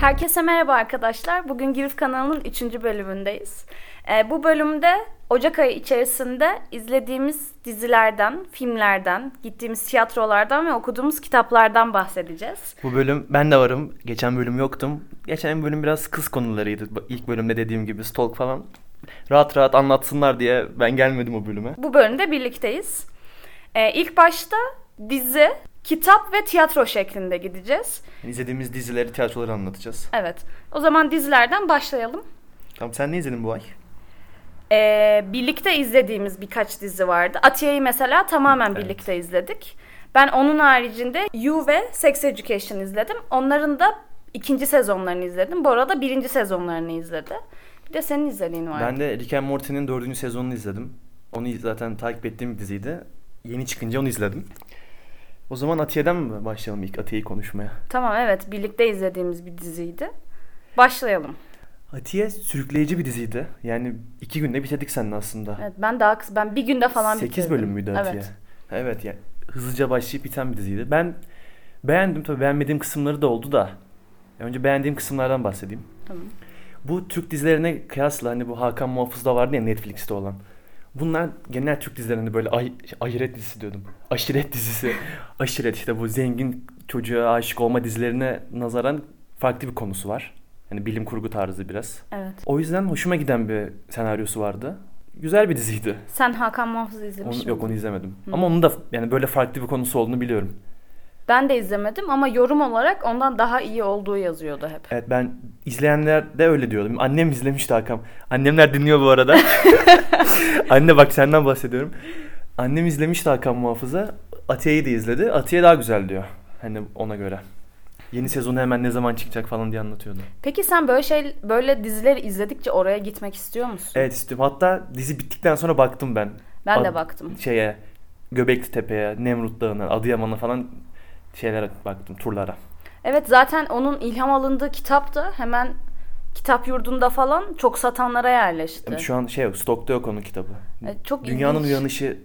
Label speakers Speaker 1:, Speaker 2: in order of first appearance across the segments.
Speaker 1: Herkese merhaba arkadaşlar. Bugün Girif kanalının 3. bölümündeyiz. Ee, bu bölümde Ocak ayı içerisinde izlediğimiz dizilerden, filmlerden, gittiğimiz tiyatrolardan ve okuduğumuz kitaplardan bahsedeceğiz.
Speaker 2: Bu bölüm ben de varım. Geçen bölüm yoktum. Geçen bölüm biraz kız konularıydı. Ba- İlk bölümde dediğim gibi stalk falan. Rahat rahat anlatsınlar diye ben gelmedim o bölüme.
Speaker 1: Bu bölümde birlikteyiz. Ee, ilk başta dizi, kitap ve tiyatro şeklinde gideceğiz.
Speaker 2: İzlediğimiz dizileri, tiyatroları anlatacağız.
Speaker 1: Evet, o zaman dizilerden başlayalım.
Speaker 2: Tamam sen ne izledin bu ay?
Speaker 1: Ee, birlikte izlediğimiz birkaç dizi vardı. Atiye'yi mesela tamamen
Speaker 2: Evet.
Speaker 1: birlikte izledik. Ben onun haricinde You ve Sex Education izledim. Onların da ikinci sezonlarını izledim. Bora da birinci sezonlarını izledi. Bir de senin izlediğin vardı.
Speaker 2: Ben de Rick and Morty'nin dördüncü sezonunu izledim. Onu iz- zaten takip ettiğim bir diziydi. Yeni çıkınca onu izledim. O zaman Atiye'den mi başlayalım ilk Atiye'yi konuşmaya?
Speaker 1: Tamam evet birlikte izlediğimiz bir diziydi. Başlayalım.
Speaker 2: Atiye sürükleyici bir diziydi. Yani iki günde bitirdik seninle aslında.
Speaker 1: Evet ben daha kısa ben bir günde falan
Speaker 2: 8
Speaker 1: bitirdim.
Speaker 2: bölüm müydü Atiye?
Speaker 1: Evet.
Speaker 2: Evet yani hızlıca başlayıp biten bir diziydi. Ben beğendim tabii beğenmediğim kısımları da oldu da. Önce beğendiğim kısımlardan bahsedeyim.
Speaker 1: Tamam.
Speaker 2: Bu Türk dizilerine kıyasla hani bu Hakan Muhafız'da vardı ya Netflix'te olan. Bunlar genel Türk dizilerinde böyle ay, ahiret dizisi diyordum. Aşiret dizisi. Aşiret işte bu zengin çocuğa aşık olma dizilerine nazaran farklı bir konusu var. Hani bilim kurgu tarzı biraz.
Speaker 1: Evet.
Speaker 2: O yüzden hoşuma giden bir senaryosu vardı. Güzel bir diziydi.
Speaker 1: Sen Hakan Muhafız'ı
Speaker 2: Onu-
Speaker 1: izlemiş miydin?
Speaker 2: yok onu izlemedim. Ama onun da yani böyle farklı bir konusu olduğunu biliyorum.
Speaker 1: Ben de izlemedim ama yorum olarak ondan daha iyi olduğu yazıyordu hep.
Speaker 2: Evet ben izleyenler de öyle diyordum. Annem izlemişti Hakan. Annemler dinliyor bu arada. Anne bak senden bahsediyorum. Annem izlemişti Hakan Muhafız'ı. Atiye'yi de izledi. Atiye daha güzel diyor. Hani ona göre. Yeni sezonu hemen ne zaman çıkacak falan diye anlatıyordu.
Speaker 1: Peki sen böyle şey böyle dizileri izledikçe oraya gitmek istiyor musun?
Speaker 2: Evet istiyorum. Hatta dizi bittikten sonra baktım ben.
Speaker 1: Ben
Speaker 2: Ad-
Speaker 1: de baktım.
Speaker 2: Şeye, Göbekli Tepe'ye, Nemrut Dağı'na, Adıyaman'a falan şeylere baktım turlara.
Speaker 1: Evet zaten onun ilham alındığı kitap da hemen kitap yurdunda falan çok satanlara yerleşti.
Speaker 2: Yani Şu an şey yok, stokta yok onun kitabı.
Speaker 1: E, çok
Speaker 2: Dünyanın
Speaker 1: ilginç.
Speaker 2: Uyanışı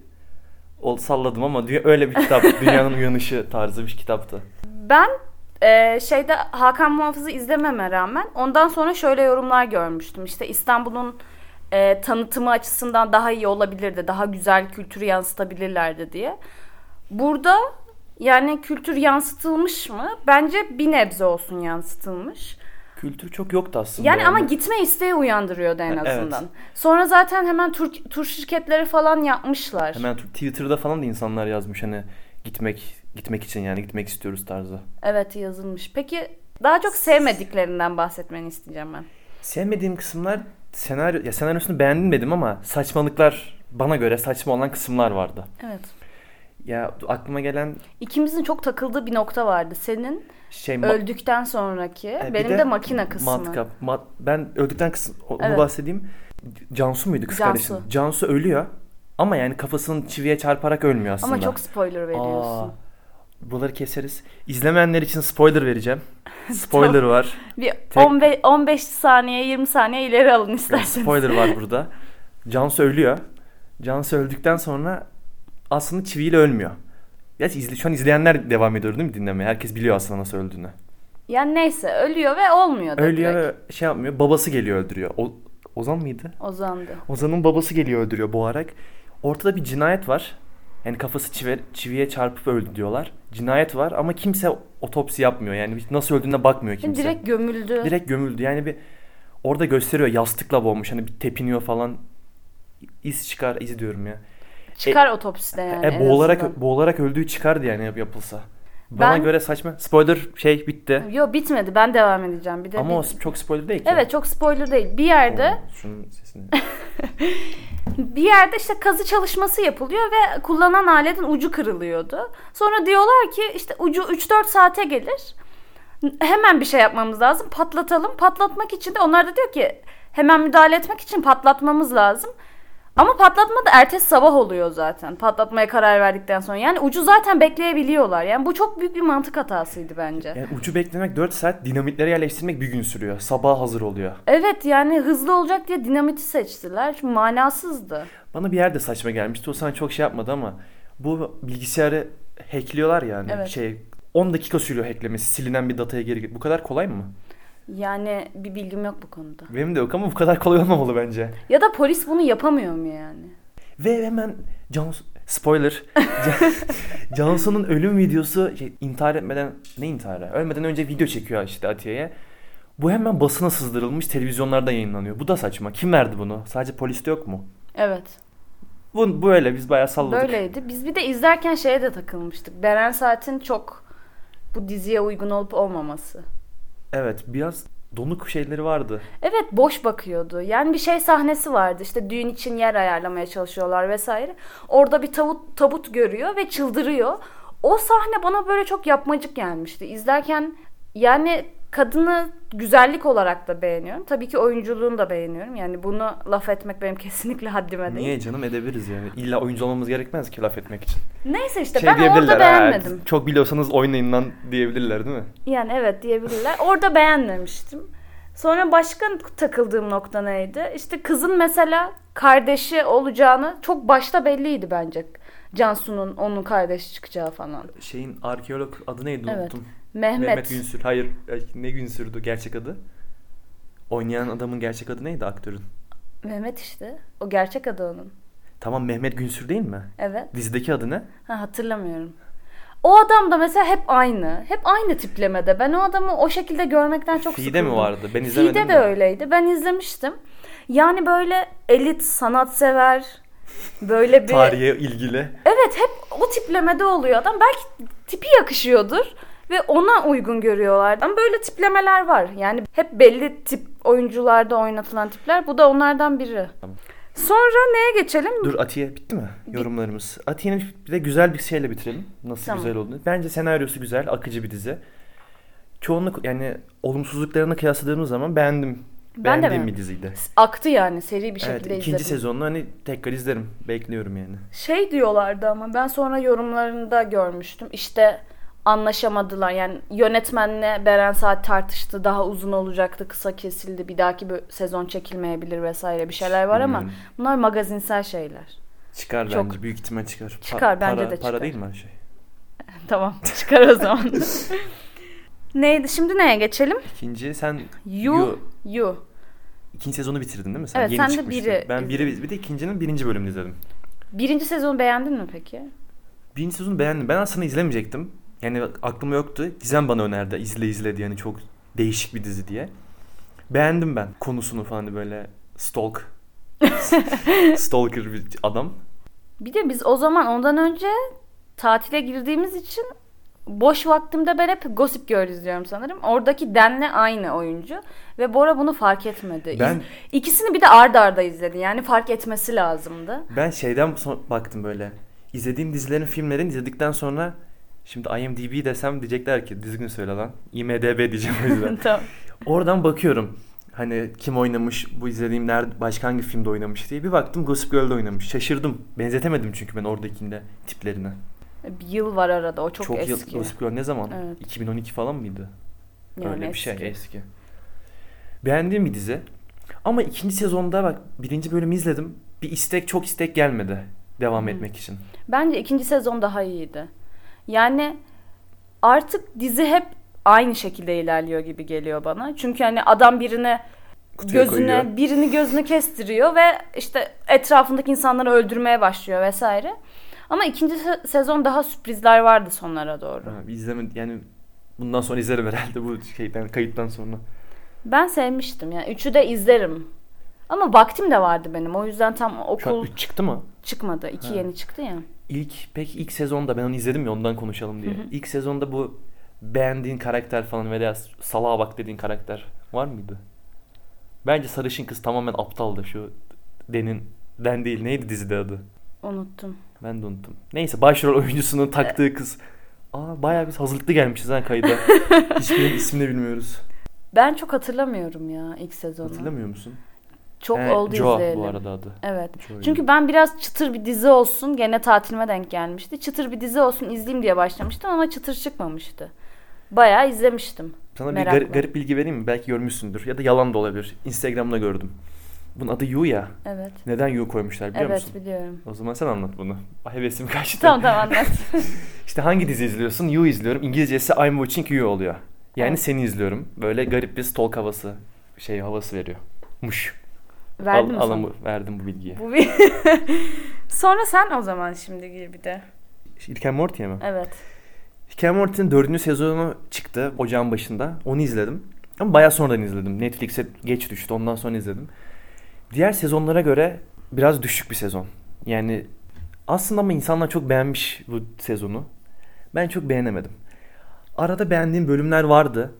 Speaker 2: ol, salladım ama dü- öyle bir kitap. Dünyanın Uyanışı tarzı bir kitaptı.
Speaker 1: Ben e, şeyde Hakan Muhafız'ı izlememe rağmen ondan sonra şöyle yorumlar görmüştüm. İşte İstanbul'un e, tanıtımı açısından daha iyi olabilirdi. Daha güzel kültürü yansıtabilirlerdi diye. Burada yani kültür yansıtılmış mı? Bence bir nebze olsun yansıtılmış.
Speaker 2: Kültür çok yoktu aslında.
Speaker 1: Yani ama
Speaker 2: orada.
Speaker 1: gitme isteği uyandırıyordu en
Speaker 2: Evet.
Speaker 1: azından. Sonra zaten hemen tur, tur şirketleri falan yapmışlar.
Speaker 2: Hemen tu- Twitter'da falan da insanlar yazmış hani gitmek gitmek için yani gitmek istiyoruz tarzı.
Speaker 1: Evet yazılmış. Peki daha çok sevmediklerinden bahsetmeni isteyeceğim ben.
Speaker 2: Sevmediğim kısımlar senaryo ya senaryosunu beğendim dedim ama saçmalıklar bana göre saçma olan kısımlar vardı.
Speaker 1: Evet.
Speaker 2: Ya aklıma gelen
Speaker 1: İkimizin çok takıldığı bir nokta vardı. Senin
Speaker 2: şey ma-
Speaker 1: öldükten sonraki,
Speaker 2: E, bir
Speaker 1: benim de, makine kısmı.
Speaker 2: Matkap. mat- ben öldükten kısım onu
Speaker 1: Evet.
Speaker 2: bahsedeyim. Cansu muydu kız
Speaker 1: Cansu.
Speaker 2: kardeşim? Cansu ölüyor. Ama yani kafasını çiviye çarparak ölmüyor aslında.
Speaker 1: Ama çok spoiler veriyorsun.
Speaker 2: Aa, buraları keseriz. İzlemeyenler için spoiler vereceğim. Spoiler var.
Speaker 1: Bir
Speaker 2: Tek-
Speaker 1: 15 15 saniye, 20 saniye ileri alın isterseniz.
Speaker 2: Spoiler var burada. Cansu ölüyor. Cansu öldükten sonra aslında çiviyle ölmüyor. Gerçi izle, şu an izleyenler devam ediyor değil mi dinlemeye? Herkes biliyor aslında nasıl öldüğünü.
Speaker 1: Yani neyse ölüyor ve olmuyor da
Speaker 2: Ölüyor
Speaker 1: direkt.
Speaker 2: ve şey yapmıyor. Babası geliyor öldürüyor. O, Ozan mıydı?
Speaker 1: Ozandı.
Speaker 2: Ozan'ın babası geliyor öldürüyor boğarak. Ortada bir cinayet var. Yani kafası çive, çiviye çarpıp öldü diyorlar. Cinayet var ama kimse otopsi yapmıyor. Yani hiç nasıl öldüğüne bakmıyor
Speaker 1: Yani
Speaker 2: kimse.
Speaker 1: direkt gömüldü.
Speaker 2: Direkt gömüldü. Yani bir orada gösteriyor yastıkla boğmuş. Hani bir tepiniyor falan. İz çıkar iz diyorum ya.
Speaker 1: Çıkar otopside yani.
Speaker 2: e,
Speaker 1: en azından.
Speaker 2: boğularak, boğularak öldüğü çıkardı yani yap- yapılsa. Bana
Speaker 1: Ben-
Speaker 2: göre saçma. Spoiler şey bitti.
Speaker 1: Yo bitmedi. Ben devam edeceğim. Bir de
Speaker 2: Ama o
Speaker 1: bir-
Speaker 2: çok spoiler değil ki.
Speaker 1: Evet çok spoiler değil. Bir yerde
Speaker 2: Oo, Şunun sesini.
Speaker 1: bir yerde işte kazı çalışması yapılıyor ve kullanan aletin ucu kırılıyordu. Sonra diyorlar ki işte ucu 3-4 saate gelir. Hemen bir şey yapmamız lazım. Patlatalım. Patlatmak için de onlar da diyor ki hemen müdahale etmek için patlatmamız lazım. Ama patlatma da ertesi sabah oluyor zaten. Patlatmaya karar verdikten sonra. Yani ucu zaten bekleyebiliyorlar. Yani bu çok büyük bir mantık hatasıydı bence.
Speaker 2: Yani ucu beklemek 4 saat, dinamitleri yerleştirmek bir gün sürüyor. Sabaha hazır oluyor.
Speaker 1: Evet yani hızlı olacak diye dinamiti seçtiler. Çünkü manasızdı.
Speaker 2: Bana bir yerde saçma gelmişti. O sana çok şey yapmadı ama bu bilgisayarı hackliyorlar hani yani.
Speaker 1: Evet.
Speaker 2: Şey 10 dakika sürüyor hacklemesi. Silinen bir dataya geri Bu kadar kolay mı?
Speaker 1: Yani bir bilgim yok bu konuda.
Speaker 2: Benim de yok ama bu kadar kolay olmamalı bence.
Speaker 1: Ya da polis bunu yapamıyor mu yani?
Speaker 2: Ve hemen Johnson... Spoiler. Can- Johnson'un ölüm videosu şey, intihar etmeden... Ne intiharı? Ölmeden önce video çekiyor işte Atiye'ye. Bu hemen basına sızdırılmış televizyonlarda yayınlanıyor. Bu da saçma. Kim verdi bunu? Sadece poliste yok mu?
Speaker 1: Evet.
Speaker 2: Bu böyle biz bayağı salladık.
Speaker 1: Böyleydi. Biz bir de izlerken şeye de takılmıştık. Beren Saat'in çok bu diziye uygun olup olmaması.
Speaker 2: Evet biraz donuk şeyleri vardı.
Speaker 1: Evet boş bakıyordu. Yani bir şey sahnesi vardı. İşte düğün için yer ayarlamaya çalışıyorlar vesaire. Orada bir tavut, tabut görüyor ve çıldırıyor. O sahne bana böyle çok yapmacık gelmişti. İzlerken yani kadını güzellik olarak da beğeniyorum. Tabii ki oyunculuğunu da beğeniyorum. Yani bunu laf etmek benim kesinlikle haddime değil.
Speaker 2: Niye canım edebiliriz yani. İlla oyuncu olmamız gerekmez ki laf etmek için.
Speaker 1: Neyse işte
Speaker 2: Şey
Speaker 1: ben orada
Speaker 2: "Ha,
Speaker 1: beğenmedim.
Speaker 2: çok biliyorsanız oynayın lan diyebilirler değil mi?
Speaker 1: Yani evet diyebilirler. Orada beğenmemiştim. Sonra başka takıldığım nokta neydi? İşte kızın mesela kardeşi olacağını çok başta belliydi bence. Cansu'nun onun kardeşi çıkacağı falan.
Speaker 2: Şeyin arkeolog adı neydi
Speaker 1: Evet.
Speaker 2: unuttum.
Speaker 1: Mehmet.
Speaker 2: Mehmet Günsür. Hayır ay, ne Günsür'dü gerçek adı? Oynayan adamın gerçek adı neydi aktörün?
Speaker 1: Mehmet işte. O gerçek adı onun.
Speaker 2: Tamam Mehmet Günsür değil mi?
Speaker 1: Evet.
Speaker 2: Dizideki adı ne?
Speaker 1: Ha, hatırlamıyorum. O adam da mesela hep aynı. Hep aynı tiplemede. Ben o adamı o şekilde görmekten çok
Speaker 2: Fide
Speaker 1: sıkıldım.
Speaker 2: mi vardı? Ben izlemedim
Speaker 1: Fide de
Speaker 2: de.
Speaker 1: öyleydi. Ben izlemiştim. Yani böyle elit, sanatsever, böyle bir...
Speaker 2: Tarihe ilgili.
Speaker 1: Evet hep o tiplemede oluyor adam. Belki tipi yakışıyordur ve ona uygun görüyorlar. Ama böyle tiplemeler var. Yani hep belli tip oyuncularda oynatılan tipler. Bu da onlardan biri.
Speaker 2: Tamam.
Speaker 1: Sonra neye geçelim?
Speaker 2: Dur Atiye bitti mi yorumlarımız? Atiye'nin bir de güzel bir şeyle bitirelim. Nasıl
Speaker 1: Tamam.
Speaker 2: güzel olduğunu. Bence senaryosu güzel, akıcı bir dizi. Çoğunluk yani olumsuzluklarını kıyasladığımız zaman beğendim.
Speaker 1: Ben de
Speaker 2: Beğendiğim
Speaker 1: beğendim.
Speaker 2: bir diziydi.
Speaker 1: Aktı yani seri bir şekilde
Speaker 2: Evet, ikinci
Speaker 1: izledim.
Speaker 2: sezonunu hani tekrar izlerim. Bekliyorum yani.
Speaker 1: Şey diyorlardı ama ben sonra yorumlarında görmüştüm. İşte anlaşamadılar. Yani yönetmenle Beren Saat tartıştı. Daha uzun olacaktı, kısa kesildi. Bir dahaki bö- sezon çekilmeyebilir vesaire bir şeyler var ama
Speaker 2: Bilmiyorum.
Speaker 1: bunlar magazinsel şeyler.
Speaker 2: Çıkar
Speaker 1: Çok.
Speaker 2: bence. Büyük ihtimal çıkar. Pa-
Speaker 1: Çıkar, bence
Speaker 2: para,
Speaker 1: de çıkar.
Speaker 2: Para değil mi her şey?
Speaker 1: Tamam çıkar o zaman. Neydi şimdi neye geçelim?
Speaker 2: İkinci sen
Speaker 1: You, you.
Speaker 2: You. ikinci sezonu bitirdin değil mi? Sen
Speaker 1: Evet,
Speaker 2: yeni
Speaker 1: sen de
Speaker 2: çıkmıştı.
Speaker 1: biri
Speaker 2: Ben biri bir de ikincinin birinci bölümünü izledim.
Speaker 1: Birinci sezonu beğendin mi peki?
Speaker 2: Birinci sezonu beğendim. Ben aslında izlemeyecektim. Yani aklımda yoktu. Gizem bana önerdi. İzle izle diye. Yani çok değişik bir dizi diye. Beğendim ben konusunu falan hani böyle stalk. stalker bir adam.
Speaker 1: Bir de biz o zaman ondan önce tatile girdiğimiz için boş vaktimde ben hep Gossip Girl izliyorum sanırım. Oradaki Den'le aynı oyuncu ve Bora bunu fark etmedi. İz-
Speaker 2: Ben-
Speaker 1: İkisini bir de ard arda izledi. Yani fark etmesi lazımdı.
Speaker 2: Ben şeyden son- baktım böyle. İzlediğim dizilerin filmlerini izledikten sonra şimdi IMDb desem diyecekler ki düzgün söyle lan. IMDb diyeceğim o yüzden.
Speaker 1: tamam.
Speaker 2: Oradan bakıyorum. Hani kim oynamış, bu izlediğim nerede, başka hangi filmde oynamış diye. Bir baktım Gossip Girl'de oynamış. Şaşırdım. Benzetemedim çünkü ben oradakinde tiplerine.
Speaker 1: Bir yıl var arada. O çok,
Speaker 2: yıl-
Speaker 1: eski.
Speaker 2: Gossip Girl ne zaman?
Speaker 1: Evet.
Speaker 2: 2012 falan mıydı?
Speaker 1: Yani
Speaker 2: Öyle bir şey
Speaker 1: eski.
Speaker 2: eski. Beğendiğim bir dizi. Ama ikinci sezonda bak birinci bölümü izledim. Bir istek çok istek gelmedi devam etmek için.
Speaker 1: Bence ikinci sezon daha iyiydi. Yani artık dizi hep aynı şekilde ilerliyor gibi geliyor bana. Çünkü hani adam birine
Speaker 2: Kutuya
Speaker 1: gözüne
Speaker 2: koyuyor.
Speaker 1: birini gözünü kestiriyor ve işte etrafındaki insanları öldürmeye başlıyor vesaire. Ama ikinci se- sezon daha sürprizler vardı sonlara doğru.
Speaker 2: Ha, izleme yani bundan sonra izlerim herhalde bu şeyden kayıttan sonra.
Speaker 1: Ben sevmiştim yani üçü de izlerim. Ama vaktim de vardı benim. O yüzden tam
Speaker 2: Şu an
Speaker 1: okul
Speaker 2: üç çıktı mı?
Speaker 1: çıkmadı. İki
Speaker 2: Ha.
Speaker 1: yeni çıktı ya.
Speaker 2: İlk pek ilk sezonda ben onu izledim ya ondan konuşalım diye. İlk sezonda bu beğendiğin karakter falan veya salağa bak dediğin karakter var mıydı? Bence sarışın kız tamamen aptaldı şu Den'in Den değil neydi dizide adı?
Speaker 1: Unuttum.
Speaker 2: Ben de unuttum. Neyse başrol oyuncusunun taktığı kız. Aa bayağı biz hazırlıklı gelmişiz ha kayda. Hiçbirinin ismini bilmiyoruz.
Speaker 1: Ben çok hatırlamıyorum ya ilk sezonu.
Speaker 2: Hatırlamıyor musun?
Speaker 1: Çok
Speaker 2: He,
Speaker 1: oldu
Speaker 2: Joa
Speaker 1: izleyelim.
Speaker 2: bu arada adı.
Speaker 1: Evet.
Speaker 2: Joy.
Speaker 1: Çünkü ben biraz çıtır bir dizi olsun gene tatilime denk gelmişti. Çıtır bir dizi olsun izleyeyim diye başlamıştım ama çıtır çıkmamıştı. Bayağı izlemiştim.
Speaker 2: Sana bir
Speaker 1: Merakla.
Speaker 2: garip, garip bilgi vereyim mi? Belki görmüşsündür ya da yalan da olabilir. Instagram'da gördüm. Bunun adı Yu ya.
Speaker 1: Evet.
Speaker 2: Neden Yu koymuşlar biliyor
Speaker 1: evet
Speaker 2: musun?
Speaker 1: biliyorum.
Speaker 2: O zaman sen anlat bunu. Hevesim kaçtı.
Speaker 1: Tamam tamam anlat.
Speaker 2: İşte hangi dizi izliyorsun? You izliyorum. İngilizcesi I'm watching You oluyor. Yani
Speaker 1: Evet.
Speaker 2: seni izliyorum. Böyle garip bir stalk havası şey havası veriyor. Muş.
Speaker 1: Verdim mi
Speaker 2: Al,
Speaker 1: sana?
Speaker 2: alın bu- verdim bu bilgiyi.
Speaker 1: Bu bir... Sonra sen o zaman şimdi gir bir de.
Speaker 2: Rick and Morty'ye mi?
Speaker 1: Evet.
Speaker 2: Rick and Morty'nin dördüncü sezonu çıktı ocağın başında. Onu izledim. Ama bayağı sonradan izledim. Netflix'e geç düştü. Ondan sonra izledim. Diğer sezonlara göre biraz düşük bir sezon. Yani aslında ama insanlar çok beğenmiş bu sezonu. Ben çok beğenemedim. Arada beğendiğim bölümler vardı.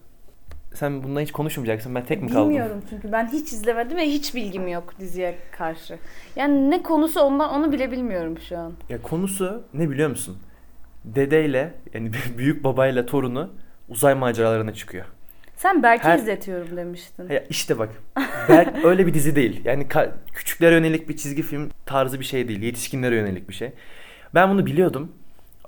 Speaker 2: Sen bununla hiç konuşmayacaksın. Ben tek mi kaldım?
Speaker 1: Bilmiyorum çünkü ben hiç izlemedim ve hiç bilgim yok diziye karşı. Yani ne konusu ondan onu bile bilmiyorum şu an.
Speaker 2: Ya konusu ne biliyor musun? Dedeyle yani büyük babayla torunu uzay maceralarına çıkıyor.
Speaker 1: Sen Berk'i
Speaker 2: Her-
Speaker 1: izletiyorum demiştin.
Speaker 2: Ya işte bak. Berk öyle bir dizi değil. Yani ka- küçüklere yönelik bir çizgi film tarzı bir şey değil. Yetişkinlere yönelik bir şey. Ben bunu biliyordum.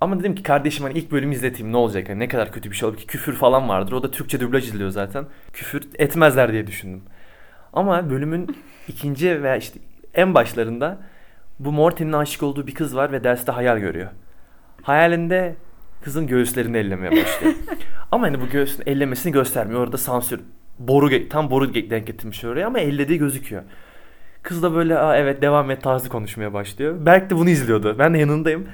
Speaker 2: Ama dedim ki kardeşim hani ilk bölümü izleteyim ne olacak? Hani ne kadar kötü bir şey olur ki küfür falan vardır. O da Türkçe dublaj izliyor zaten. Küfür etmezler diye düşündüm. Ama bölümün ikinci veya işte en başlarında bu Morty'nin aşık olduğu bir kız var ve derste hayal görüyor. Hayalinde kızın göğüslerini ellemeye başlıyor. ama hani bu göğsün ellemesini göstermiyor. Orada sansür. Boru ge- tam boru ge- denk getirmiş oraya ama ellediği gözüküyor. Kız da böyle Aa, evet devam et tarzı konuşmaya başlıyor. Berk de bunu izliyordu. Ben de yanındayım.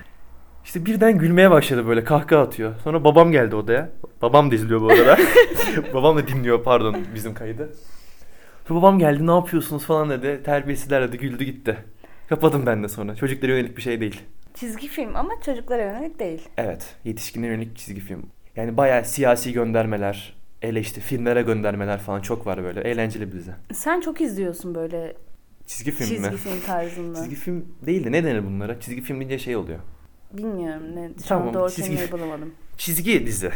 Speaker 2: İşte birden gülmeye başladı böyle kahkaha atıyor. Sonra babam geldi odaya. Babam da izliyor bu arada. babam da dinliyor pardon bizim kaydı. Sonra babam geldi ne yapıyorsunuz falan dedi. Terbiyesizler dedi güldü gitti. Kapadım ben de sonra. Çocuklara yönelik bir şey değil.
Speaker 1: Çizgi film ama çocuklara yönelik değil.
Speaker 2: Evet. Yetişkinlere yönelik çizgi film. Yani bayağı siyasi göndermeler, eleşti, filmlere göndermeler falan çok var böyle. Eğlenceli bir dizi.
Speaker 1: Sen çok izliyorsun böyle
Speaker 2: Çizgi film
Speaker 1: çizgi
Speaker 2: mi?
Speaker 1: film tarzında.
Speaker 2: Çizgi film değil de ne denir bunlara? Çizgi film deyince şey oluyor.
Speaker 1: Bilmiyorum ne. Şu
Speaker 2: Tamam,
Speaker 1: an doğru
Speaker 2: çizgi
Speaker 1: kelimeyi
Speaker 2: film.
Speaker 1: bulamadım.
Speaker 2: Çizgi dizi.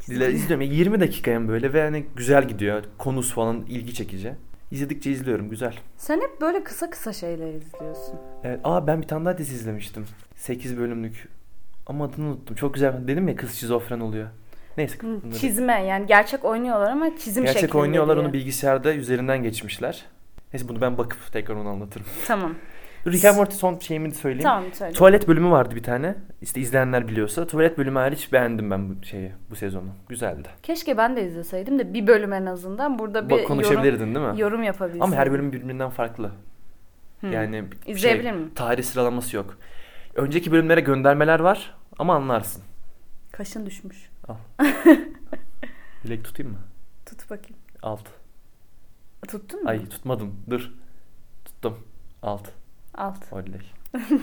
Speaker 2: Dizileri izliyorum. Ya 20 dakika hem böyle ve hani güzel gidiyor. Konusu falan ilgi çekici. İzledikçe izliyorum. Güzel.
Speaker 1: Sen hep böyle kısa kısa şeyler izliyorsun.
Speaker 2: Evet. Aa ben bir tane daha dizi izlemiştim. 8 bölümlük. Ama adını unuttum. Çok güzel. Dedim ya kız şizofren oluyor. Neyse.
Speaker 1: Hı,
Speaker 2: bunları-
Speaker 1: Çizme yani gerçek oynuyorlar ama çizim şeklinde.
Speaker 2: Gerçek oynuyorlar
Speaker 1: diye.
Speaker 2: onu bilgisayarda üzerinden geçmişler. Neyse bunu ben bakıp tekrar onu anlatırım.
Speaker 1: Tamam.
Speaker 2: Rick and Morty son şeyimi söyleyeyim.
Speaker 1: Tamam söyle.
Speaker 2: Tuvalet bölümü vardı bir tane. İşte izleyenler biliyorsa. Tuvalet bölümü hariç beğendim ben bu şeyi, bu sezonu. Güzeldi.
Speaker 1: Keşke ben de izleseydim de bir bölüm en azından burada bir
Speaker 2: Bak konuşabilirdin değil
Speaker 1: yorum,
Speaker 2: mi?
Speaker 1: yorum yapabilseydim.
Speaker 2: Ama her bölüm birbirinden farklı.
Speaker 1: Hı.
Speaker 2: Yani
Speaker 1: İzleyebilir
Speaker 2: şey,
Speaker 1: miyim?
Speaker 2: tarih sıralaması yok. Önceki bölümlere göndermeler var ama anlarsın.
Speaker 1: Kaşın düşmüş.
Speaker 2: Dilek tutayım mı?
Speaker 1: Tut bakayım.
Speaker 2: Alt.
Speaker 1: Tuttun mu?
Speaker 2: Ay tutmadım. Dur. Tuttum. Alt.
Speaker 1: Alt.
Speaker 2: O dilek.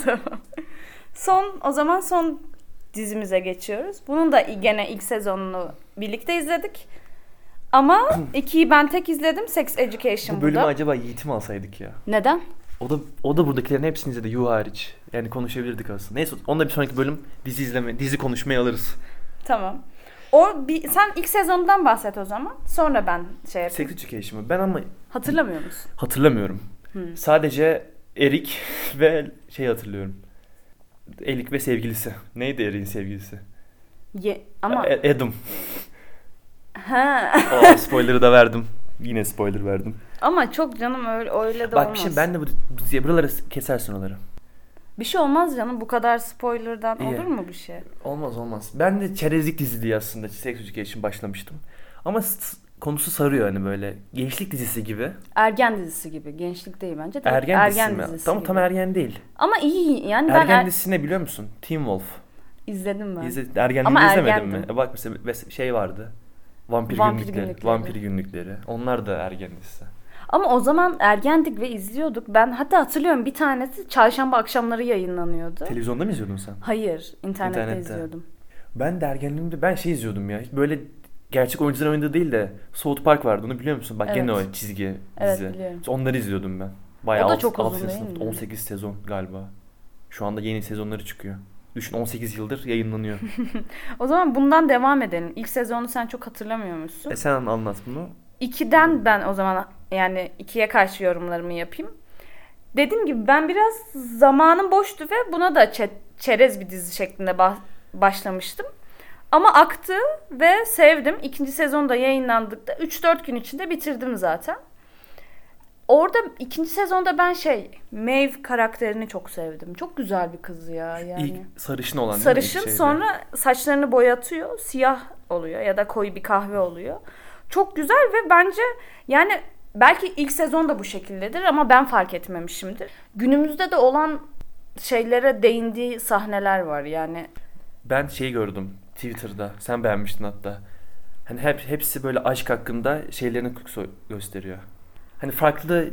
Speaker 1: tamam. Son o zaman son dizimize geçiyoruz. Bunun da gene ilk sezonunu birlikte izledik. Ama ikiyi ben tek izledim. Sex Education bu
Speaker 2: Bu bölümü
Speaker 1: da.
Speaker 2: acaba Yiğit'i mi alsaydık ya?
Speaker 1: Neden?
Speaker 2: O da o da buradakilerin hepsini izledi Yu hariç. Yani konuşabilirdik aslında. Neyse onda bir sonraki bölüm dizi izleme, dizi konuşmaya alırız.
Speaker 1: Tamam. O bir, sen ilk sezondan bahset o zaman. Sonra ben şey yapayım.
Speaker 2: Sex Education mı? Ben ama
Speaker 1: Hatırlamıyor musun?
Speaker 2: hatırlamıyorum.
Speaker 1: Hmm.
Speaker 2: Sadece Erik ve şey hatırlıyorum. Erik ve sevgilisi. Neydi Erik'in sevgilisi?
Speaker 1: Ye- ama
Speaker 2: A- Adam.
Speaker 1: ha.
Speaker 2: Aa, spoiler'ı da verdim. Yine spoiler verdim.
Speaker 1: ama çok canım öyle öyle de
Speaker 2: Bak
Speaker 1: olmaz.
Speaker 2: şimdi ben de bu bu diziye buraları kesersin oraları.
Speaker 1: Bir şey olmaz canım bu kadar spoilerdan
Speaker 2: İyi.
Speaker 1: olur mu bir şey?
Speaker 2: Olmaz olmaz. Ben de çerezlik dizi diye aslında Sex Education başlamıştım. Ama s- konusu sarıyor hani böyle. Gençlik dizisi gibi.
Speaker 1: Ergen dizisi gibi. Gençlik değil bence. Tam
Speaker 2: Ergen, dizisi mi? tam
Speaker 1: gibi.
Speaker 2: tam ergen değil.
Speaker 1: Ama iyi yani ben
Speaker 2: ergen
Speaker 1: er-
Speaker 2: dizisi ne biliyor musun? Teen Wolf.
Speaker 1: izledim ben.
Speaker 2: İzle, ergenliğini
Speaker 1: Ama
Speaker 2: izlemedin mi?
Speaker 1: ergendim.
Speaker 2: E bak mesela mes- şey vardı. Vampir,
Speaker 1: Vampir
Speaker 2: günlükleri,
Speaker 1: Günlükleri.
Speaker 2: Vampir günlükleri. Onlar da ergen dizisi.
Speaker 1: Ama o zaman ergendik ve izliyorduk. Ben hatta hatırlıyorum bir tanesi çarşamba akşamları yayınlanıyordu.
Speaker 2: Televizyonda mı izliyordun sen?
Speaker 1: Hayır, internette,
Speaker 2: İnternette.
Speaker 1: izliyordum.
Speaker 2: Ben de ergenliğimde ben şey izliyordum ya. Böyle gerçek oyuncuların oynadığı değil de South Park vardı. Onu biliyor musun? Bak gene
Speaker 1: Evet.
Speaker 2: o çizgi
Speaker 1: Evet,
Speaker 2: dizi.
Speaker 1: biliyorum.
Speaker 2: Onları izliyordum ben. Bayağı
Speaker 1: O da
Speaker 2: alt-
Speaker 1: çok
Speaker 2: alt
Speaker 1: uzun değil
Speaker 2: sınıf,
Speaker 1: mi?
Speaker 2: 18 sezon galiba. Şu anda yeni sezonları çıkıyor. Düşün 18 yıldır yayınlanıyor.
Speaker 1: O zaman bundan devam edelim. İlk sezonu sen çok hatırlamıyormuşsun.
Speaker 2: e sen anlat bunu.
Speaker 1: İkiden ben o zaman yani ikiye karşı yorumlarımı yapayım. Dediğim gibi ben biraz zamanım boştu ve buna da çe- çerez bir dizi şeklinde bah- başlamıştım. Ama aktı ve sevdim. İkinci sezonda yayınlandıkta 3-4 gün içinde bitirdim zaten. Orada ikinci sezonda ben şey Maeve karakterini çok sevdim. Çok güzel bir kız ya yani.
Speaker 2: İlk sarışın olan değil mi? İlk
Speaker 1: Sarışın
Speaker 2: şeyde.
Speaker 1: sonra saçlarını boyatıyor. Siyah oluyor ya da koyu bir kahve oluyor. Çok güzel ve bence yani belki ilk sezon da bu şekildedir ama ben fark etmemişimdir. Günümüzde de olan şeylere değindiği sahneler var yani.
Speaker 2: Ben şeyi gördüm Twitter'da. Sen beğenmiştin hatta. Hani hep hepsi böyle aşk hakkında şeylerini so- gösteriyor. Hani farklı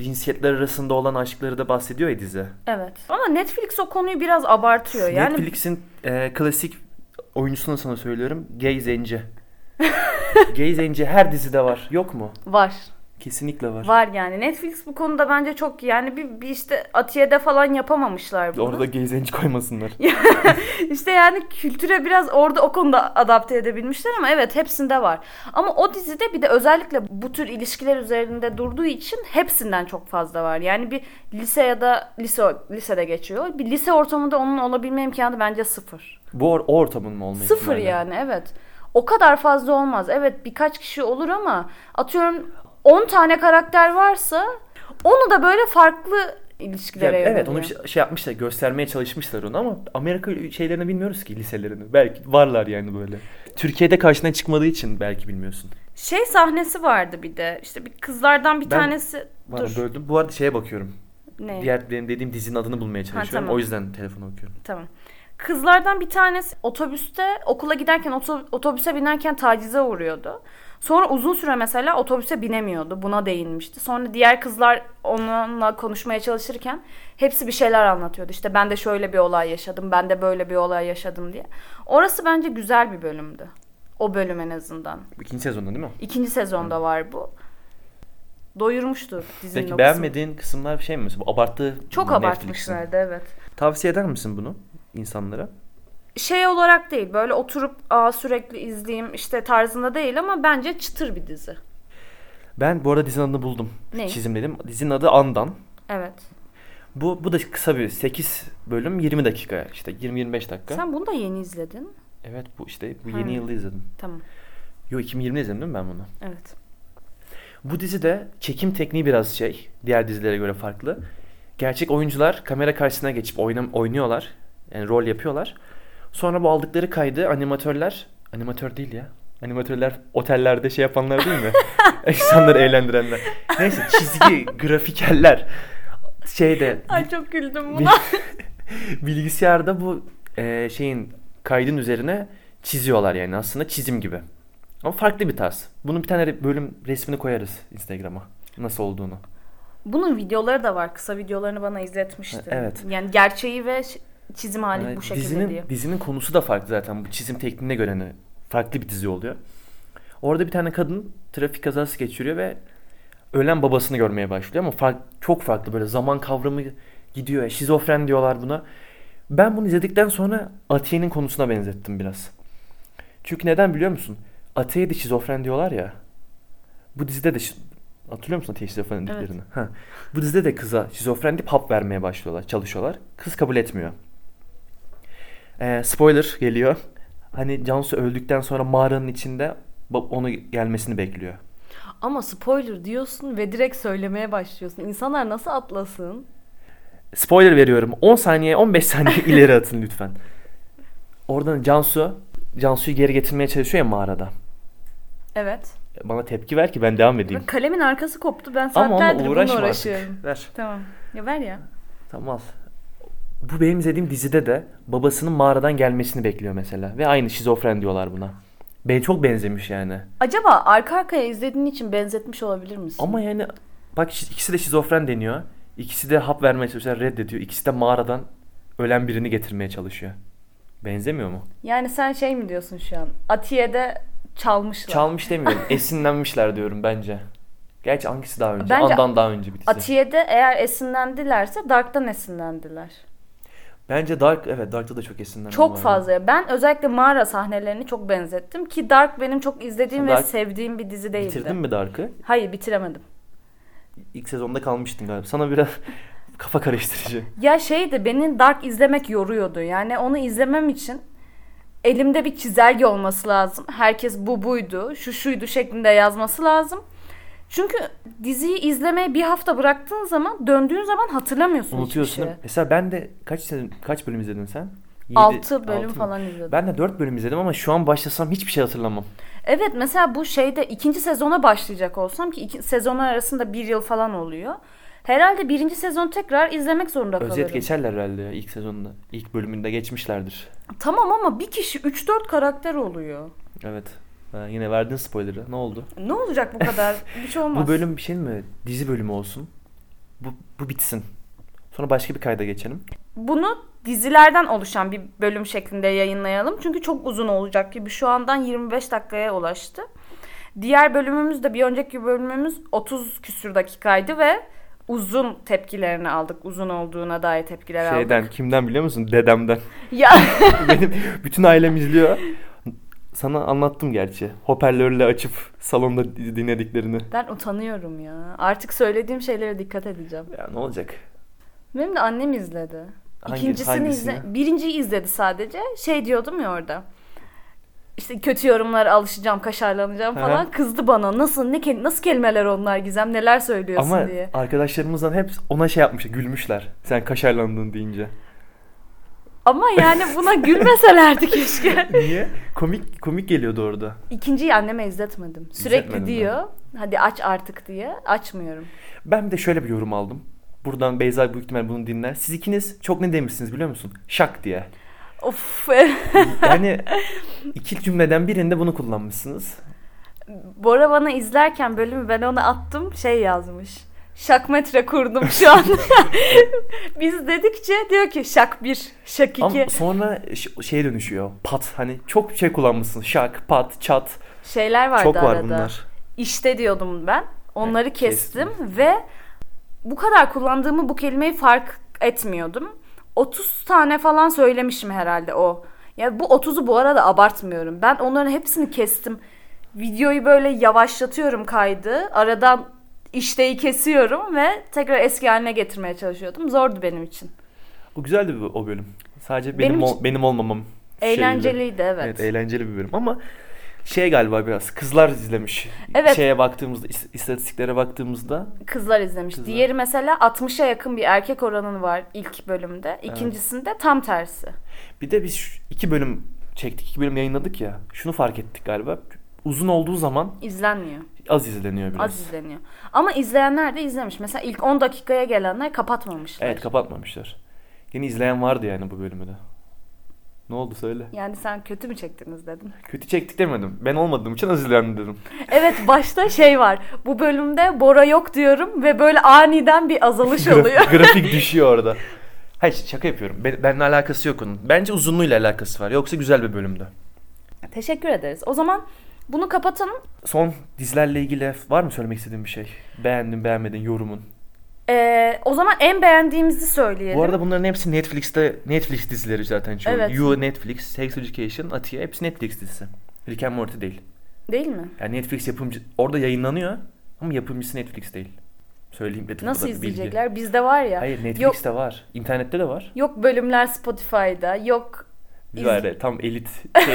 Speaker 2: cinsiyetler arasında olan aşkları da bahsediyor ya dizi.
Speaker 1: Evet. Ama Netflix o konuyu biraz abartıyor. Ee, Yani
Speaker 2: Netflix'in e, klasik oyuncusuna sana söylüyorum. Gay Zenci. Gay Zenci her dizide var. Yok mu?
Speaker 1: var.
Speaker 2: Kesinlikle var.
Speaker 1: Var yani. Netflix bu konuda bence çok yani bir, bir işte Atiye'de falan yapamamışlar bunu.
Speaker 2: Orada Gay Zenci koymasınlar.
Speaker 1: İşte yani kültüre biraz orada o konuda adapte edebilmişler ama evet hepsinde var. Ama o dizide bir de özellikle bu tür ilişkiler üzerinde durduğu için hepsinden çok fazla var. Yani bir lise ya da lise lisede geçiyor. Bir lise ortamında onun olabilme imkanı bence sıfır.
Speaker 2: Bu or- o ortamın mı olma
Speaker 1: Sıfır
Speaker 2: ihtimali?
Speaker 1: yani evet. O kadar fazla olmaz. Evet birkaç kişi olur ama atıyorum 10 tane karakter varsa onu da böyle farklı
Speaker 2: Ya,
Speaker 1: ilişkilere
Speaker 2: evet
Speaker 1: yöneliyor.
Speaker 2: onu bir şey- şey yapmışlar göstermeye çalışmışlar onu ama Amerika şeylerini bilmiyoruz ki liselerini. Belki varlar yani böyle. Türkiye'de karşına çıkmadığı için belki bilmiyorsun.
Speaker 1: Şey sahnesi vardı bir de. İşte bir kızlardan bir
Speaker 2: Ben-
Speaker 1: tanesi
Speaker 2: Bana
Speaker 1: dur.
Speaker 2: böldüm. Bu arada şeye bakıyorum.
Speaker 1: Ne?
Speaker 2: Diğer benim dediğim dizinin adını bulmaya çalışıyorum.
Speaker 1: tamam.
Speaker 2: O yüzden telefonu okuyorum.
Speaker 1: Tamam. Kızlardan bir tanesi otobüste okula giderken oto- otobüse binerken tacize uğruyordu. Sonra uzun süre mesela otobüse binemiyordu. Buna değinmişti. Sonra diğer kızlar onunla konuşmaya çalışırken hepsi bir şeyler anlatıyordu. İşte ben de şöyle bir olay yaşadım, ben de böyle bir olay yaşadım diye. Orası bence güzel bir bölümdü. O bölüm en azından.
Speaker 2: İkinci sezonda değil mi?
Speaker 1: İkinci sezonda var bu. Doyurmuştur dizinin
Speaker 2: Peki
Speaker 1: o kısmı.
Speaker 2: beğenmediğin kısımlar bir şey mi? Bu abarttı
Speaker 1: Çok
Speaker 2: Netflix'in.
Speaker 1: abartmışlardı evet.
Speaker 2: Tavsiye eder misin bunu insanlara?
Speaker 1: şey olarak değil böyle oturup Aa, sürekli izleyeyim işte tarzında değil ama bence çıtır bir dizi.
Speaker 2: Ben bu arada dizinin adını buldum.
Speaker 1: Ne?
Speaker 2: Çizimledim. Dizinin adı Andan.
Speaker 1: Evet.
Speaker 2: Bu bu da kısa bir 8 bölüm 20 dakika işte 20-25 dakika.
Speaker 1: Sen bunu da yeni izledin.
Speaker 2: Evet bu işte bu
Speaker 1: Ha.
Speaker 2: yeni yılda izledim.
Speaker 1: Tamam.
Speaker 2: Yo 2020'de izledim değil mi ben bunu?
Speaker 1: Evet.
Speaker 2: Bu dizide çekim tekniği biraz şey. Diğer dizilere göre farklı. Gerçek oyuncular kamera karşısına geçip oynam oynuyorlar. Yani rol yapıyorlar. Sonra bu aldıkları kaydı animatörler... Animatör değil ya. Animatörler otellerde şey yapanlar değil mi? İnsanları eğlendirenler. Neyse çizgi, grafikerler. Şeyde...
Speaker 1: Ay çok güldüm
Speaker 2: Bil-
Speaker 1: buna.
Speaker 2: Bilgisayarda bu e, şeyin kaydın üzerine çiziyorlar yani aslında çizim gibi. Ama farklı bir tarz. Bunun bir tane re- bölüm resmini koyarız Instagram'a. Nasıl olduğunu.
Speaker 1: Bunun videoları da var. Kısa videolarını bana izletmişti.
Speaker 2: Ha, evet.
Speaker 1: Yani gerçeği ve ş- çizim hali
Speaker 2: Yani
Speaker 1: Hani bu şekilde
Speaker 2: dizinin,
Speaker 1: diye.
Speaker 2: dizinin konusu da farklı zaten. Bu çizim tekniğine göre hani farklı bir dizi oluyor. Orada bir tane kadın trafik kazası geçiriyor ve ölen babasını görmeye başlıyor ama fark, çok farklı böyle zaman kavramı gidiyor. Şizofren diyorlar buna. Ben bunu izledikten sonra Atiye'nin konusuna benzettim biraz. Çünkü neden biliyor musun? Atiye'de şizofren diyorlar ya. Bu dizide de şi- hatırlıyor musun Atiye şizofren dediklerini? Ha. Bu dizide de kıza şizofren deyip hap vermeye başlıyorlar, çalışıyorlar. Kız kabul etmiyor. Ee, spoiler geliyor. Hani Cansu öldükten sonra mağaranın içinde bab- onu gelmesini bekliyor.
Speaker 3: Ama spoiler diyorsun ve direkt söylemeye başlıyorsun. İnsanlar nasıl atlasın?
Speaker 2: Spoiler veriyorum. 10 saniye 15 saniye ileri atın lütfen. Oradan Cansu Cansu'yu geri getirmeye çalışıyor ya mağarada.
Speaker 1: Evet.
Speaker 2: Bana tepki ver ki ben devam edeyim.
Speaker 1: Bak, kalemin arkası koptu. Ben
Speaker 2: Ama onunla
Speaker 1: saatlerdir bununla
Speaker 2: uğraşma
Speaker 1: uğraşıyorum.
Speaker 2: artık. Ver.
Speaker 1: Tamam. Ya ver ya.
Speaker 2: Tamam al. Bu benim izlediğim dizide de babasının mağaradan gelmesini bekliyor mesela. Ve aynı şizofren diyorlar buna. Ben çok benzemiş yani.
Speaker 1: Acaba arka arkaya izlediğin için benzetmiş olabilir misin?
Speaker 2: Ama yani bak şi- ikisi de şizofren deniyor. İkisi de hap vermeye çalışıyor, reddediyor. İkisi de mağaradan ölen birini getirmeye çalışıyor. Benzemiyor mu?
Speaker 1: Yani sen şey mi diyorsun şu an? Atiye'de çalmışlar.
Speaker 2: Çalmış demiyorum. Esinlenmişler diyorum bence. Gerçi hangisi daha önce?
Speaker 1: Bence
Speaker 2: Andan daha önce bir dizi.
Speaker 1: Atiye'de eğer esinlendilerse Dark'tan esinlendiler.
Speaker 2: Bence Dark, evet Dark'ta da çok esinlenme
Speaker 1: Çok
Speaker 2: var.
Speaker 1: fazla. ya. Ben özellikle mağara sahnelerini çok benzettim ki Dark benim çok izlediğim
Speaker 2: Dark-
Speaker 1: ve sevdiğim bir dizi değildi.
Speaker 2: Bitirdin mi Dark'ı?
Speaker 1: Hayır, bitiremedim.
Speaker 2: İlk sezonda kalmıştın galiba. Sana biraz kafa karıştırıcı.
Speaker 1: Ya şeydi, beni Dark izlemek yoruyordu. Yani onu izlemem için elimde bir çizelge olması lazım. Herkes bu buydu, şu şuydu şeklinde yazması lazım. Çünkü diziyi izlemeye bir hafta bıraktığın zaman döndüğün zaman hatırlamıyorsun hiçbir şey.
Speaker 2: Unutuyorsun. değil
Speaker 1: şeyi.
Speaker 2: mi? Mesela ben de kaç sezon, kaç bölüm izledin sen? Yedi-
Speaker 1: 6 bölüm
Speaker 2: altı mı?
Speaker 1: falan izledim.
Speaker 2: Ben de 4 bölüm izledim ama şu an başlasam hiçbir şey hatırlamam.
Speaker 1: Evet mesela bu şeyde ikinci sezona başlayacak olsam ki iki, sezonlar arasında bir yıl falan oluyor. Herhalde birinci sezonu tekrar izlemek zorunda kalırım.
Speaker 2: Özet geçerler herhalde ya ilk sezonda. ilk bölümünde geçmişlerdir.
Speaker 1: Tamam ama bir kişi 3-4 karakter oluyor.
Speaker 2: Evet. Ha, yine verdin spoiler'ı. Ne oldu?
Speaker 1: Ne olacak bu kadar? Bir şey olmaz.
Speaker 2: Bu bölüm bir şey mi? Dizi bölümü olsun. Bu, bu bitsin. Sonra başka bir kayda geçelim.
Speaker 1: Bunu dizilerden oluşan bir bölüm şeklinde yayınlayalım. Çünkü çok uzun olacak gibi. Şu andan 25 dakikaya ulaştı. Diğer bölümümüz de bir önceki bölümümüz 30 küsür dakikaydı ve uzun tepkilerini aldık. Uzun olduğuna dair tepkiler aldık.
Speaker 2: Şeyden kimden biliyor musun? Dedemden.
Speaker 1: Ya
Speaker 2: Benim bütün ailem izliyor. Sana anlattım gerçi. Hoparlörle açıp salonda dinlediklerini.
Speaker 3: Ben utanıyorum ya. Artık söylediğim şeylere dikkat edeceğim.
Speaker 2: Ya ne olacak?
Speaker 3: Benim de annem izledi.
Speaker 2: Hangi-
Speaker 1: İkincisini
Speaker 2: hangisini?
Speaker 1: izle, birinciyi izledi sadece. Şey diyordum ya orada. İşte kötü yorumlara alışacağım, kaşarlanacağım
Speaker 2: Hı
Speaker 1: falan.
Speaker 2: hı.
Speaker 1: Kızdı bana. Nasıl ne kel- nasıl kelimeler onlar Gizem? Neler söylüyorsun
Speaker 2: Ama
Speaker 1: diye.
Speaker 2: arkadaşlarımızdan hep ona şey yapmış, gülmüşler. Sen kaşarlandın deyince.
Speaker 1: Ama yani buna gülmeselerdi keşke.
Speaker 2: Niye? Komik komik geliyordu orada.
Speaker 1: İkinciyi anneme izletmedim. Sürekli
Speaker 2: İzletmedim ben.
Speaker 1: diyor. Hadi aç artık diye. Açmıyorum.
Speaker 2: Ben bir de şöyle bir yorum aldım. Buradan Beyza büyük ihtimal bunu dinler. Siz ikiniz çok ne demişsiniz biliyor musun? Şak diye.
Speaker 1: Of.
Speaker 2: Yani iki cümleden birinde bunu kullanmışsınız.
Speaker 1: Bora bana izlerken bölümü ben ona attım. Şey yazmış. Şakmetre kurdum şu an. Biz dedikçe diyor ki şak 1, şak 2.
Speaker 2: Ama sonra ş- şeye dönüşüyor. Pat hani çok şey kullanmışsınız. Şak, pat, çat.
Speaker 1: Şeyler vardı
Speaker 2: çok var
Speaker 1: arada.
Speaker 2: bunlar.
Speaker 1: İşte diyordum ben. Onları
Speaker 2: Evet,
Speaker 1: kestim, ve bu kadar kullandığımı bu kelimeyi fark etmiyordum. 30 tane falan söylemişim herhalde o. Ya bu 30'u bu arada abartmıyorum. Ben onların hepsini kestim. Videoyu böyle yavaşlatıyorum kaydı. Aradan işteyi kesiyorum ve tekrar eski haline getirmeye çalışıyordum. Zordu benim için.
Speaker 2: O güzeldi bu, o bölüm. Sadece benim
Speaker 1: Benim
Speaker 2: benim, ol-
Speaker 1: için-
Speaker 2: benim olmamam. şeyiyle.
Speaker 1: Eğlenceliydi evet.
Speaker 2: Evet, eğlenceli bir bölüm ama şey galiba biraz kızlar izlemiş.
Speaker 1: Evet.
Speaker 2: Şeye baktığımızda, is- istatistiklere baktığımızda
Speaker 1: Kızlar izlemiş.
Speaker 2: e- Kızlar.
Speaker 1: Diğeri mesela 60'a yakın bir erkek oranı var ilk bölümde. İkincisinde tam tersi.
Speaker 2: bir de biz şu- iki bölüm çektik, iki bölüm yayınladık ya. Şunu fark ettik galiba. Uzun olduğu zaman
Speaker 1: İzlenmiyor.
Speaker 2: az izleniyor biraz.
Speaker 1: Az izleniyor. Ama izleyenler de izlemiş. Mesela ilk 10 dakikaya gelenler kapatmamışlar.
Speaker 2: Evet, kapatmamışlar. Yine izleyen vardı yani bu bölümü de. Ne oldu söyle.
Speaker 1: Yani sen kötü mü çektiniz dedin.
Speaker 2: Kötü çektik demedim. Ben olmadığım için az izlendi dedim.
Speaker 1: Evet başta şey var. Bu bölümde Bora yok diyorum ve böyle aniden bir azalış
Speaker 2: Graf-
Speaker 1: oluyor.
Speaker 2: grafik düşüyor orada. Hayır şaka yapıyorum. Ben, benimle alakası yok onun. Bence uzunluğuyla alakası var. Yoksa güzel bir bölümdü.
Speaker 1: Teşekkür ederiz. O zaman bunu kapatalım.
Speaker 2: Son dizilerle ilgili var mı söylemek istediğin bir şey? Beğendin beğenmedin yorumun.
Speaker 1: Ee, o zaman en beğendiğimizi söyleyelim.
Speaker 2: Bu arada bunların hepsi Netflix'te Netflix dizileri zaten çoğu.
Speaker 1: Evet.
Speaker 2: You Netflix, Sex Education, Atiye hepsi Netflix dizisi. Rick and Morty değil.
Speaker 1: Değil mi?
Speaker 2: Yani Netflix yapımcı orada yayınlanıyor ama yapımcısı Netflix değil. Söyleyeyim dedim.
Speaker 1: Nasıl
Speaker 2: Bu da bir bilgi.
Speaker 1: izleyecekler? Bizde var ya.
Speaker 2: Hayır
Speaker 1: Yok,
Speaker 2: Netflix'te var. İnternette de var.
Speaker 1: yok bölümler Spotify'da. Yok
Speaker 2: Biz
Speaker 1: İz-
Speaker 2: var ya, tam elit şey,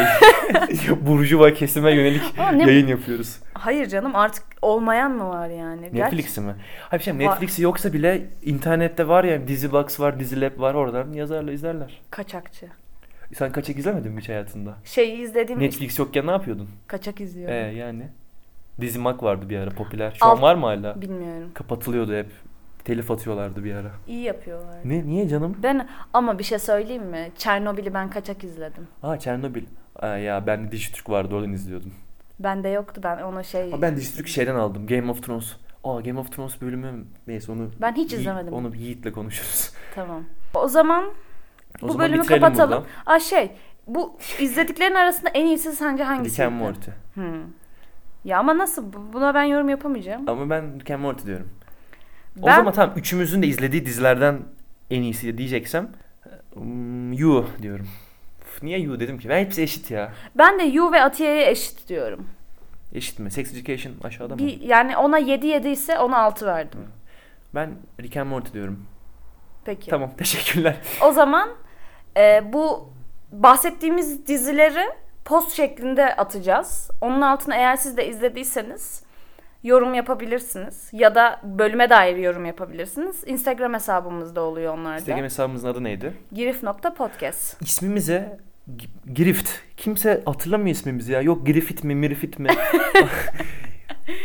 Speaker 2: burjuva kesime yönelik
Speaker 1: Ama ne-
Speaker 2: yayın yapıyoruz.
Speaker 1: Hayır canım artık olmayan mı var yani? Gerçi-
Speaker 2: Netflix'i mi? Hayır şey
Speaker 1: Var.
Speaker 2: Netflix'i yoksa bile internette var ya Dizibox var, Dizilab var oradan yazarlar izlerler.
Speaker 1: Kaçakçı.
Speaker 2: Sen kaçak izlemedin mi hiç hayatında?
Speaker 1: Şeyi izlediğim
Speaker 2: Netflix yokken ne yapıyordun?
Speaker 1: kaçak
Speaker 2: Ee,
Speaker 1: izliyorum.
Speaker 2: yani. Dizimak vardı bir ara popüler. Şu an
Speaker 1: Alt-
Speaker 2: var mı hala?
Speaker 1: Bilmiyorum.
Speaker 2: Kapatılıyordu hep. Telif atıyorlardı bir ara.
Speaker 1: İyi yapıyorlar.
Speaker 2: Ne, niye canım?
Speaker 1: Ben ama bir şey söyleyeyim mi? Çernobil'i ben kaçak izledim.
Speaker 2: Aa Çernobil. Aa, ya ben de Dijitürk vardı oradan izliyordum.
Speaker 1: Bende yoktu ben ona şey.
Speaker 2: Aa, ben Dijitürk'ü şeyden aldım. Game of Thrones. Aa Game of Thrones bölümü neyse onu
Speaker 1: Ben hiç
Speaker 2: Yi-
Speaker 1: izlemedim.
Speaker 2: Onu Yiğit'le konuşuruz.
Speaker 1: Tamam. O zaman
Speaker 2: O
Speaker 1: bu
Speaker 2: zaman
Speaker 1: bölümü
Speaker 2: bitirelim
Speaker 1: kapatalım.
Speaker 2: buradan.
Speaker 1: Aa şey, bu izlediklerin arasında en iyisi sence hangisi?
Speaker 2: Rick and Morty.
Speaker 1: Hmm. Ya ama nasıl? Bu- Buna ben yorum yapamayacağım.
Speaker 2: Ama ben Rick and Morty diyorum. O
Speaker 1: Ben-
Speaker 2: zaman tamam üçümüzün de izlediği dizilerden en iyisi diyeceksem hmm, You diyorum. Üf, Niye You dedim ki? Ben hepsi eşit ya.
Speaker 1: Ben de You ve Atiye'ye eşit diyorum.
Speaker 2: Eşit mi? Sex Education aşağıda mı?
Speaker 1: Bir, yani ona 7 7 ise ona 6 verdim.
Speaker 2: Ben Rick and Morty diyorum.
Speaker 1: Peki.
Speaker 2: Tamam teşekkürler.
Speaker 1: O zaman e, bu bahsettiğimiz dizileri post şeklinde atacağız. Onun altına eğer siz de izlediyseniz yorum yapabilirsiniz. Ya da bölüme dair yorum yapabilirsiniz. Instagram hesabımızda oluyor onlar
Speaker 2: Instagram
Speaker 1: da.
Speaker 2: hesabımızın adı neydi?
Speaker 1: Girif.podcast.
Speaker 2: İsmimize G- Grift. Kimse hatırlamıyor ismimizi ya. Yok Griffith mi, Mirifit mi?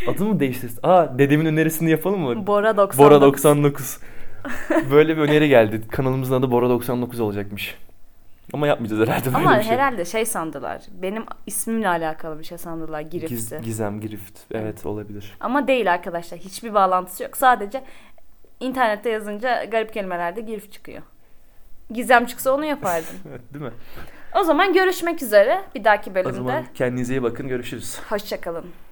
Speaker 2: Adı mı değiştirsin? Aa dedemin önerisini yapalım mı?
Speaker 3: Bora 90.
Speaker 2: Bora 99. Böyle bir öneri geldi. Kanalımızın adı Bora 99 olacakmış. Ama yapmayacağız herhalde böyle
Speaker 1: Ama
Speaker 2: bir şey.
Speaker 1: herhalde şey sandılar. Benim ismimle alakalı bir şey sandılar. Girif'ti.
Speaker 2: Giz- Gizem, Grift. Evet olabilir.
Speaker 1: Ama değil arkadaşlar. Hiçbir bağlantısı yok. Sadece internette yazınca garip kelimelerde girif çıkıyor. Gizem çıksa onu yapardım.
Speaker 2: Evet, değil mi?
Speaker 1: o zaman görüşmek üzere. Bir dahaki
Speaker 2: O
Speaker 1: bölümde.
Speaker 2: zaman kendinize iyi bakın. Görüşürüz.
Speaker 1: Hoşçakalın.